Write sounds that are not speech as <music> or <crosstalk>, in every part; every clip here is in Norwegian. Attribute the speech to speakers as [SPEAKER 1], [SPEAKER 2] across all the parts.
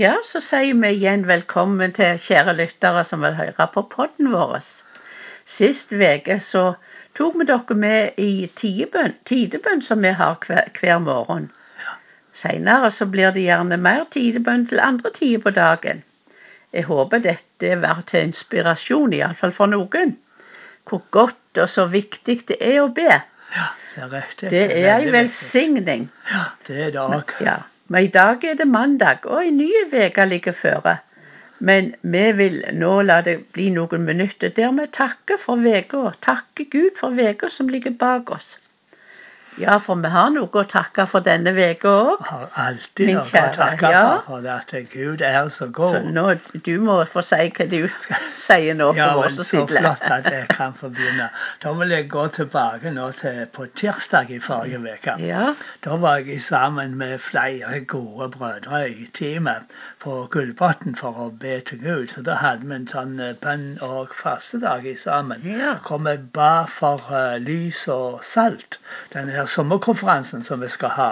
[SPEAKER 1] Ja, så sier vi igjen velkommen til kjære lyttere som vil høre på podden vår. Sist uke så tok vi dere med i tidebønn, tidebønn som vi har hver, hver morgen. Senere så blir det gjerne mer tidebønn til andre tider på dagen. Jeg håper dette var til inspirasjon, iallfall for noen. Hvor godt og så viktig det er å be.
[SPEAKER 2] Ja, det er riktig.
[SPEAKER 1] Det er ei
[SPEAKER 2] veldig viktig.
[SPEAKER 1] velsigning.
[SPEAKER 2] Ja, det er det òg.
[SPEAKER 1] Ja, men i dag er det mandag, og en ny uke ligger føre. Men vi vil nå la det bli noen minutter der vi takker for uka, takker Gud for uka som ligger bak oss. Ja, for vi har noe å takke for denne uka òg.
[SPEAKER 2] Jeg har alltid
[SPEAKER 1] Min
[SPEAKER 2] noe å
[SPEAKER 1] kjære,
[SPEAKER 2] takke
[SPEAKER 1] ja.
[SPEAKER 2] for, for at Gud er så
[SPEAKER 1] Så
[SPEAKER 2] god.
[SPEAKER 1] nå, du må få si hva
[SPEAKER 2] <laughs>
[SPEAKER 1] du sier nå
[SPEAKER 2] Ja,
[SPEAKER 1] for
[SPEAKER 2] men
[SPEAKER 1] oss som
[SPEAKER 2] så
[SPEAKER 1] sitter
[SPEAKER 2] flott at jeg kan få begynne. Da vil jeg gå tilbake nå til på tirsdag i forrige uke.
[SPEAKER 1] Ja,
[SPEAKER 2] Da var jeg sammen med flere gode brødre i teamet på Gullbotn for å be til Gud. Så da hadde vi en sånn eh, bønn- og fastedag i sammen.
[SPEAKER 1] Ja.
[SPEAKER 2] Hvor vi ba for eh, lys og salt. Denne her sommerkonferansen som vi skal ha.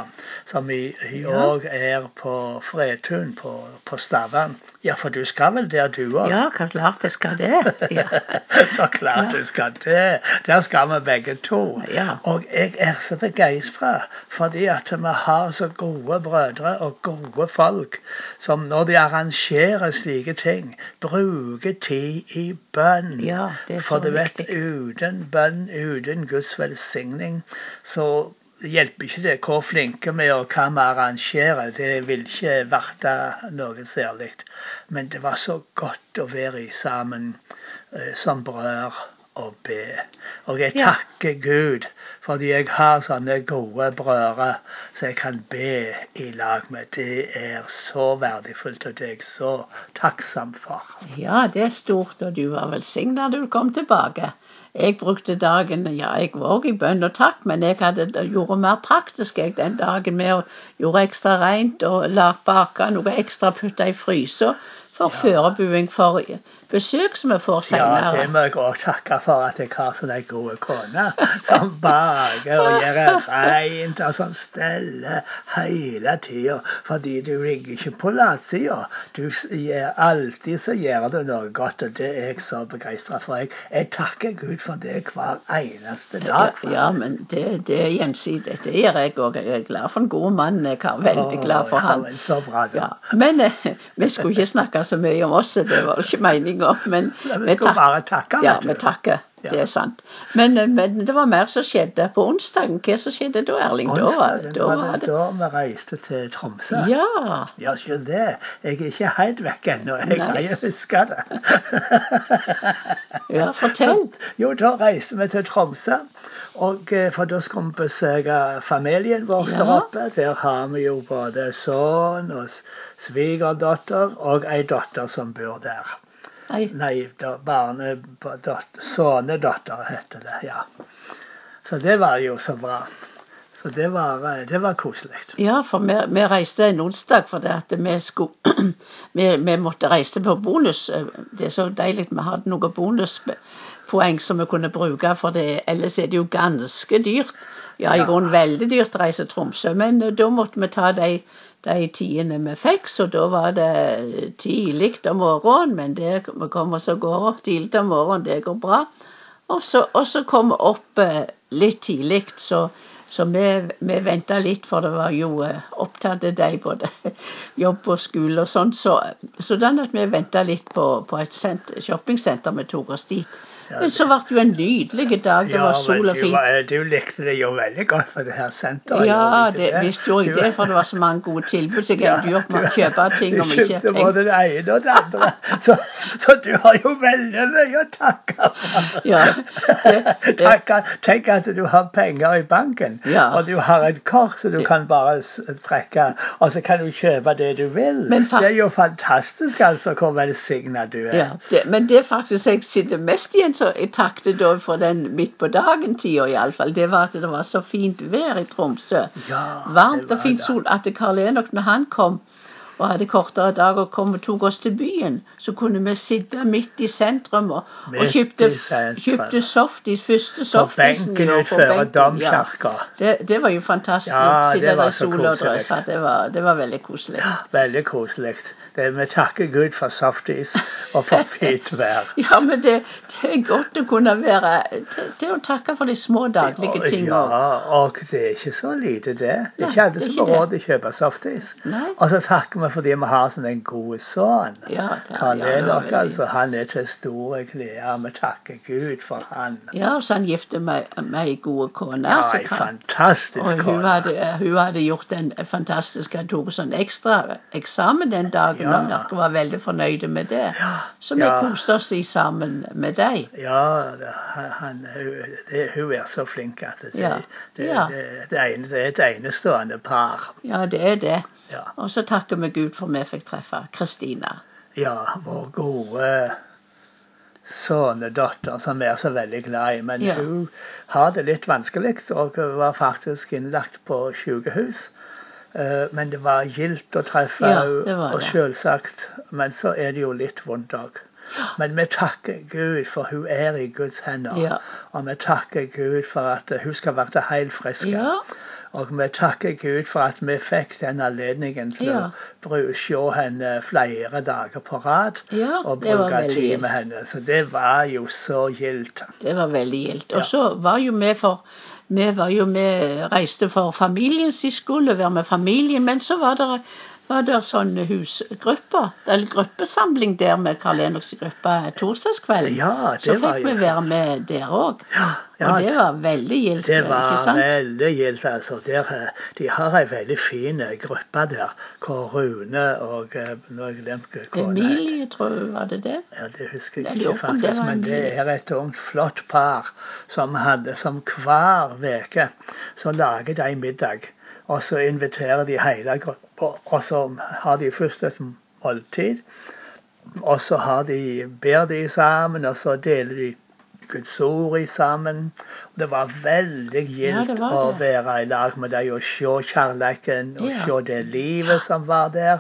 [SPEAKER 2] Som i i
[SPEAKER 1] Ja.
[SPEAKER 2] år er på Fredtun på, på Stavern. Ja, for du skal vel der du òg?
[SPEAKER 1] ja klart jeg skal det. Ja.
[SPEAKER 2] <laughs> Så klart du skal det. Der skal vi begge to.
[SPEAKER 1] Ja.
[SPEAKER 2] Og jeg er så begeistra fordi at vi har så gode brødre og gode folk som når de arrangerer slike ting, bruker tid i bønn.
[SPEAKER 1] Ja, det er
[SPEAKER 2] For
[SPEAKER 1] så
[SPEAKER 2] du vet,
[SPEAKER 1] viktig.
[SPEAKER 2] uten bønn, uten Guds velsigning, så hjelper ikke det hvor flinke vi er og hva vi arrangerer. Det vil ikke verte noe særlig. Men det var så godt å være i sammen eh, som brødre og be. Og jeg
[SPEAKER 1] Ja.
[SPEAKER 2] takker Gud fordi jeg har sånne gode brødre som jeg kan be i lag med. Det er så verdifullt, og det er jeg så takksam for.
[SPEAKER 1] Ja, det er stort, og du var velsigna da du kom tilbake. Jeg brukte dagen ja, jeg var også i bønn og takk, men jeg hadde gjorde mer praktisk jeg den dagen med å gjøre ekstra rent og lag baka noe ekstra putta i frysa for forberedning for besøk som vi får
[SPEAKER 2] Ja, det
[SPEAKER 1] senere.
[SPEAKER 2] må jeg også takke for at jeg har sånne gode koner som baker og gjør rent og som steller hele tida. Fordi du ligger ikke på latsida. Du s- gjør alltid så gjør du noe godt, og det er jeg så begeistra for. Jeg, jeg takker Gud for det hver eneste dag.
[SPEAKER 1] Ja, ja, men det, det er gjensidig. Det gjør jeg òg. Jeg er glad for en god mann. Jeg er veldig glad for
[SPEAKER 2] Å,
[SPEAKER 1] han.
[SPEAKER 2] Ja, men så bra, da.
[SPEAKER 1] Ja, men eh, vi skulle ikke snakke så mye om oss, det var ikke meninga. Men
[SPEAKER 2] Nei, vi skal bare takke,
[SPEAKER 1] Ja,
[SPEAKER 2] vet du.
[SPEAKER 1] vi takker.
[SPEAKER 2] Ja.
[SPEAKER 1] Det er sant. Men, eh, men det var mer som skjedde på onsdagen. Hva som skjedde da, Erling? Da var,
[SPEAKER 2] Onsdagen
[SPEAKER 1] da
[SPEAKER 2] var
[SPEAKER 1] var
[SPEAKER 2] det
[SPEAKER 1] det
[SPEAKER 2] da vi reiste til Tromsø.
[SPEAKER 1] Ja.
[SPEAKER 2] Ja, ikke det. Jeg er ikke helt vekk ennå. Jeg
[SPEAKER 1] Nei.
[SPEAKER 2] greier å huske det.
[SPEAKER 1] ja fortell.
[SPEAKER 2] <laughs> Jo, da reiste vi til Tromsø, og, eh, for da skulle vi besøke familien vår
[SPEAKER 1] Ja.
[SPEAKER 2] der oppe. Der har vi jo både sønn og s- svigerdatter og ei datter som bor der.
[SPEAKER 1] Nei,
[SPEAKER 2] Nei, da- barne- dot- sønnedatter heter det, ja. Så det var jo så bra. Så det var, eh, det var koselig.
[SPEAKER 1] Ja, for vi, vi reiste en onsdag fordi at vi skulle <clears throat> vi, vi måtte reise på bonus. Det er så deilig vi hadde noen bonuspoeng som vi kunne bruke, for det, ellers er det jo ganske dyrt. Ja, i
[SPEAKER 2] Ja.
[SPEAKER 1] grunnen veldig dyrt å reise til Tromsø, men eh, da måtte vi ta de, de tidene vi fikk, så da var det tidlig om morgenen, men det vi kom oss av gårde tidlig om morgenen, det går bra. Og så, og så kom vi opp eh, litt tidlig, så, så vi, vi venta litt, for det var jo eh, opptatte de både <laughs> jobb og skole og sånn. Så, så den at vi venta litt på, på et sent, shoppingsenter vi tok oss dit. Men så ble det jo en nydelig dag, det
[SPEAKER 2] Ja,
[SPEAKER 1] var sol
[SPEAKER 2] men
[SPEAKER 1] og
[SPEAKER 2] du,
[SPEAKER 1] fint.
[SPEAKER 2] var- du likte det jo veldig godt for det her senteret.
[SPEAKER 1] Ja,
[SPEAKER 2] gjorde du ikke
[SPEAKER 1] det, visst gjorde jeg
[SPEAKER 2] Du-
[SPEAKER 1] det, for det var så mange gode tilbud, så jeg endte jo opp med å kjøpe ting
[SPEAKER 2] Du
[SPEAKER 1] om jeg ikke
[SPEAKER 2] kjøpte
[SPEAKER 1] tenkte
[SPEAKER 2] både det ene og det andre, <laughs> så, så du har jo veldig mye å takke for.
[SPEAKER 1] ja,
[SPEAKER 2] <laughs>
[SPEAKER 1] det, det,
[SPEAKER 2] Takke, tenk at du har penger i banken,
[SPEAKER 1] Ja.
[SPEAKER 2] og du har et kort så du kan bare s- trekke, og så kan du kjøpe det du vil.
[SPEAKER 1] Men fa-
[SPEAKER 2] det er jo fantastisk altså hvor velsigna du er.
[SPEAKER 1] Ja, det, men det er faktisk jeg sitter mest igjen så jeg takket da for den midt på dagen-tida iallfall. Det var at det var så fint vær i Tromsø.
[SPEAKER 2] Ja, det
[SPEAKER 1] Varmt
[SPEAKER 2] var
[SPEAKER 1] og fint
[SPEAKER 2] det.
[SPEAKER 1] sol. At Karl Enok, når han kom og hadde kortere dag og kom og tok oss til byen, så kunne vi sitte midt i sentrum og, og
[SPEAKER 2] Midt
[SPEAKER 1] kjøpte,
[SPEAKER 2] i sentrum.
[SPEAKER 1] kjøpte softis, første
[SPEAKER 2] På
[SPEAKER 1] softisen.
[SPEAKER 2] benken
[SPEAKER 1] jo, på
[SPEAKER 2] utenfor
[SPEAKER 1] benken, ja.
[SPEAKER 2] domkirka.
[SPEAKER 1] Det, det var jo fantastisk.
[SPEAKER 2] Ja, det
[SPEAKER 1] Sitte der
[SPEAKER 2] var
[SPEAKER 1] i
[SPEAKER 2] så
[SPEAKER 1] sol og
[SPEAKER 2] koselig.
[SPEAKER 1] drøse. Det var, det var veldig koselig.
[SPEAKER 2] Veldig koselig. Det- Vi takker Gud for softis og
[SPEAKER 1] <laughs>
[SPEAKER 2] for fint vær.
[SPEAKER 1] Ja, men det, det er godt å kunne være til, til å takke for de små daglige ting
[SPEAKER 2] Ja,
[SPEAKER 1] òg.
[SPEAKER 2] og det er ikke så lite, det. Det er
[SPEAKER 1] Nei,
[SPEAKER 2] ikke alle
[SPEAKER 1] det er
[SPEAKER 2] som
[SPEAKER 1] ikke
[SPEAKER 2] har
[SPEAKER 1] det.
[SPEAKER 2] råd til å kjøpe softis.
[SPEAKER 1] Nei.
[SPEAKER 2] Og så takker vi fordi vi har sånn en god sønn.
[SPEAKER 1] Ja,
[SPEAKER 2] Karl
[SPEAKER 1] det var
[SPEAKER 2] Enok,
[SPEAKER 1] veldig-
[SPEAKER 2] altså. Han er til store glede. Vi takker Gud for han.
[SPEAKER 1] Ja, og så han gifte meg med ei god kone.
[SPEAKER 2] Ja,
[SPEAKER 1] så
[SPEAKER 2] ei
[SPEAKER 1] kan-
[SPEAKER 2] fantastisk
[SPEAKER 1] og hun
[SPEAKER 2] kone.
[SPEAKER 1] hadde, hun hadde gjort en fantastisk Han tok sånn ekstra eksamen den dagen,
[SPEAKER 2] Ja.
[SPEAKER 1] og dere var veldig fornøyde med det. Så vi
[SPEAKER 2] Ja.
[SPEAKER 1] koste oss i sammen med deg.
[SPEAKER 2] Ja, det, han, han- hun- det, hun er så flink at det,
[SPEAKER 1] Ja.
[SPEAKER 2] det, det,
[SPEAKER 1] Ja.
[SPEAKER 2] det, det, ene, det er et enestående par.
[SPEAKER 1] Ja, det er det.
[SPEAKER 2] Ja.
[SPEAKER 1] Og så takker vi Gud for vi fikk treffe Kristina.
[SPEAKER 2] Ja, vår gode sønnedatter som vi er så veldig glad i. Men
[SPEAKER 1] Ja.
[SPEAKER 2] hun har det litt vanskelig, og hun var faktisk innlagt på sykehus. Eh, Men det var gildt å treffe
[SPEAKER 1] Ja, det
[SPEAKER 2] henne,
[SPEAKER 1] var
[SPEAKER 2] og
[SPEAKER 1] det.
[SPEAKER 2] selvsagt. Men så er det jo litt vondt òg. Men vi takker Gud, for hun er i Guds hender.
[SPEAKER 1] Ja.
[SPEAKER 2] Og vi takker Gud for at hun skal være helt frisk.
[SPEAKER 1] Ja,
[SPEAKER 2] Og vi takker Gud for at vi fikk den anledningen til
[SPEAKER 1] Ja.
[SPEAKER 2] å bru- se henne flere dager på rad.
[SPEAKER 1] ja
[SPEAKER 2] Og
[SPEAKER 1] det var
[SPEAKER 2] bruke
[SPEAKER 1] veldig
[SPEAKER 2] tid
[SPEAKER 1] gildt.
[SPEAKER 2] med henne. Så det var jo så gildt.
[SPEAKER 1] Det var veldig gildt. Og
[SPEAKER 2] Ja.
[SPEAKER 1] så var jo vi for Vi var jo med, reiste for familien, så de skulle være med familien. Men så var det, var det sånne husgrupper, eller gruppesamling der med Karl Enoks gruppe torsdagskvelden.
[SPEAKER 2] Ja,
[SPEAKER 1] så
[SPEAKER 2] det var
[SPEAKER 1] fikk
[SPEAKER 2] jo
[SPEAKER 1] vi
[SPEAKER 2] så-
[SPEAKER 1] være med der òg.
[SPEAKER 2] Ja,
[SPEAKER 1] og det var veldig gildt.
[SPEAKER 2] Det
[SPEAKER 1] ikke
[SPEAKER 2] var
[SPEAKER 1] sant?
[SPEAKER 2] veldig gildt, altså. Der, eh, de har ei veldig fin eh, gruppe der, hvor Rune og eh, Nå har jeg glemt hva kona het.
[SPEAKER 1] Emilie, tror jeg var det det.
[SPEAKER 2] Ja, det husker
[SPEAKER 1] Jeg
[SPEAKER 2] jeg
[SPEAKER 1] lurer
[SPEAKER 2] ikke
[SPEAKER 1] på om det
[SPEAKER 2] faktisk,
[SPEAKER 1] var
[SPEAKER 2] men
[SPEAKER 1] en
[SPEAKER 2] det
[SPEAKER 1] bil.
[SPEAKER 2] er et ungt, flott par som hadde som hver uke så lager de middag. Og så inviterer de hele gruppa, og så har de først et måltid. Og så har de, ber de sammen, og så deler de Guds ord i sammen. Det var veldig
[SPEAKER 1] Ja,
[SPEAKER 2] gildt
[SPEAKER 1] det var
[SPEAKER 2] å
[SPEAKER 1] det.
[SPEAKER 2] være i lag med dem og se kjærligheten og
[SPEAKER 1] Ja.
[SPEAKER 2] se det livet som var der.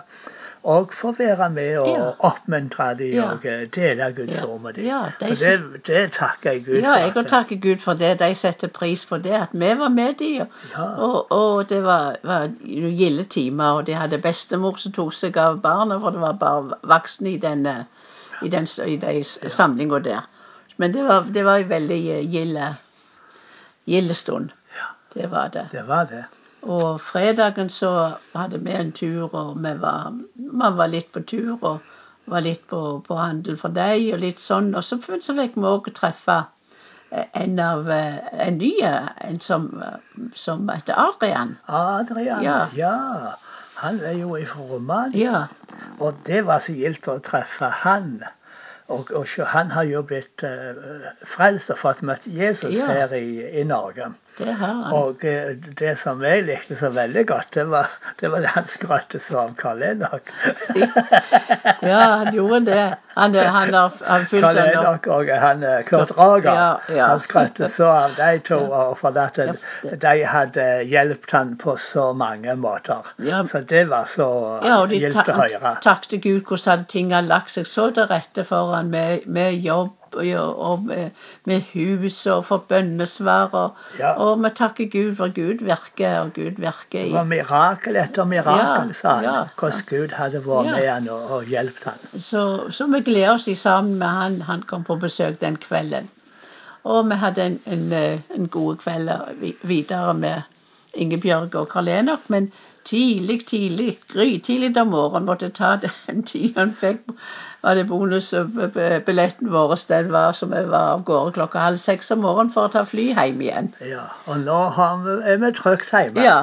[SPEAKER 2] Og få være med og
[SPEAKER 1] Ja.
[SPEAKER 2] oppmuntre dem
[SPEAKER 1] Ja.
[SPEAKER 2] og eh, dele Guds
[SPEAKER 1] Ja.
[SPEAKER 2] ord med dem.
[SPEAKER 1] Ja, de
[SPEAKER 2] Så det, det takker jeg Gud
[SPEAKER 1] Ja,
[SPEAKER 2] for.
[SPEAKER 1] jeg
[SPEAKER 2] at-
[SPEAKER 1] kan takke Gud for det. De setter pris på det, at vi var med de.
[SPEAKER 2] Ja.
[SPEAKER 1] Og, og det var, var jo gilde timer, og de hadde bestemor som tok seg av barna, for det var bare voksne i, denne, i, den, i de s- samlinga der. Men det var, det var en veldig gilde, gilde stund.
[SPEAKER 2] Ja.
[SPEAKER 1] Det var det.
[SPEAKER 2] det var det.
[SPEAKER 1] Og fredagen så hadde vi en tur, og vi var, man var litt på tur og var litt på, på handel for deg og litt sånn. Og så, men så fikk vi òg treffe eh, en av eh, en ny, eh, en som, eh, som heter Adrian.
[SPEAKER 2] Adrian, ja.
[SPEAKER 1] Ja.
[SPEAKER 2] Han er jo ifra Roman.
[SPEAKER 1] Ja,
[SPEAKER 2] Og det var så gildt å treffe han. Og, og sjå, han har jo blitt eh, frelst og fått møtt Jesus
[SPEAKER 1] Ja.
[SPEAKER 2] her i, i Norge.
[SPEAKER 1] det har han.
[SPEAKER 2] Og eh, det som jeg likte så veldig godt, det var det, var det han skrøtte så av Karl Enok.
[SPEAKER 1] Ja, han gjorde det. Han, eh, han har han fulgt
[SPEAKER 2] Karl
[SPEAKER 1] han opp.
[SPEAKER 2] Enok og han eh, Kurt Rager.
[SPEAKER 1] Ja, ja.
[SPEAKER 2] Han skrøtte så av de to, og for at eh,
[SPEAKER 1] Ja, det-
[SPEAKER 2] de hadde hjulpet han på så mange måter.
[SPEAKER 1] Ja.
[SPEAKER 2] Så det var så
[SPEAKER 1] Ja, og de ta
[SPEAKER 2] gildt å høre.
[SPEAKER 1] takte Gud hvordan hadde ting hadde lagt seg så til rette for han med, med jobb og, og med, med hus og for bønnesvar. Og,
[SPEAKER 2] Ja.
[SPEAKER 1] og vi takker Gud for Gud virker, og Gud virker
[SPEAKER 2] Det var
[SPEAKER 1] i
[SPEAKER 2] mirakel etter mirakel,
[SPEAKER 1] Ja,
[SPEAKER 2] sa han.
[SPEAKER 1] ja.
[SPEAKER 2] Hvordan Gud hadde vært
[SPEAKER 1] Ja.
[SPEAKER 2] med han og, og hjulpet han.
[SPEAKER 1] Så, så vi gleder oss i sammen med han. Han kom på besøk den kvelden. Og vi hadde en, en, eh, en god kveld vi- videre med Ingebjørg og Karl Enok, men tidlig, tidlig, grytidlig om morgenen måtte ta den <laughs> tida han fikk. Var det bonusbilletten vår, den var som jeg var av gårde klokka halv seks om morgenen for å ta fly hjem igjen.
[SPEAKER 2] Ja. Og nå har vi, er vi trygt hjemme.
[SPEAKER 1] Ja,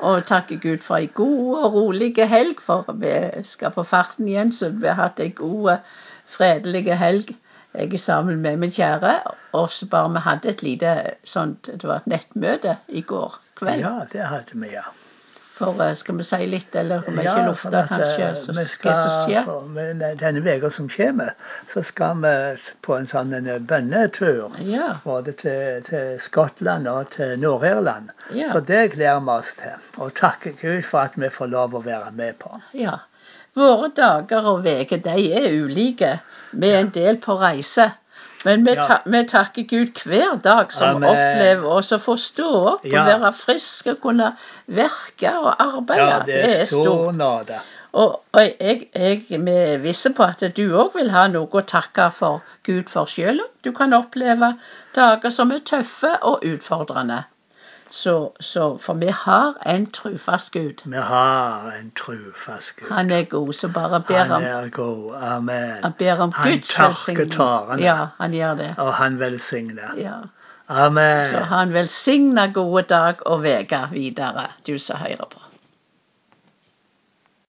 [SPEAKER 1] og takke Gud for ei god og rolig helg, for vi skal på farten igjen, så vi har hatt ei god, fredelig helg. Jeg er sammen med min kjære, og så bare vi hadde et lite sånt, det var et nettmøte i går kveld.
[SPEAKER 2] Ja, det hadde vi, ja.
[SPEAKER 1] For eh, skal vi si litt, eller om vi
[SPEAKER 2] ja
[SPEAKER 1] ikke
[SPEAKER 2] for
[SPEAKER 1] lufter,
[SPEAKER 2] eh,
[SPEAKER 1] kanskje, så,
[SPEAKER 2] vi
[SPEAKER 1] hva
[SPEAKER 2] skal,
[SPEAKER 1] som skjer?
[SPEAKER 2] på- men, eh, Denne uka som kommer, så skal vi på en sånn en eh, bønnetur.
[SPEAKER 1] Ja,
[SPEAKER 2] Både til, til Skottland og til Nord-Irland.
[SPEAKER 1] Ja.
[SPEAKER 2] Så det gleder vi oss til. Og takker Gud for at vi får lov å være med på.
[SPEAKER 1] ja. Våre dager og uker, de er ulike. Vi er en del på reise. Men vi,
[SPEAKER 2] Ja.
[SPEAKER 1] ta, vi takker Gud hver dag som
[SPEAKER 2] Amen.
[SPEAKER 1] opplever oss å få stå opp
[SPEAKER 2] Ja.
[SPEAKER 1] og være frisk og kunne virke og arbeide.
[SPEAKER 2] Ja, det er stor nåde.
[SPEAKER 1] Og, og jeg, jeg er visse på at du òg vil ha noe å takke for Gud for sjøl. Du kan oppleve dager som er tøffe og utfordrende. Så, så For vi har en trufast Gud.
[SPEAKER 2] Vi har en trufast Gud.
[SPEAKER 1] Han er god, så bare ber
[SPEAKER 2] Han
[SPEAKER 1] om,
[SPEAKER 2] er god. Amen.
[SPEAKER 1] han ber om
[SPEAKER 2] Han
[SPEAKER 1] Guds
[SPEAKER 2] tørker
[SPEAKER 1] velsigning.
[SPEAKER 2] tårene.
[SPEAKER 1] Ja, han gjør det.
[SPEAKER 2] Og han velsigner.
[SPEAKER 1] Ja.
[SPEAKER 2] Amen.
[SPEAKER 1] Så han velsigner gode dag og uke videre, du som hører på.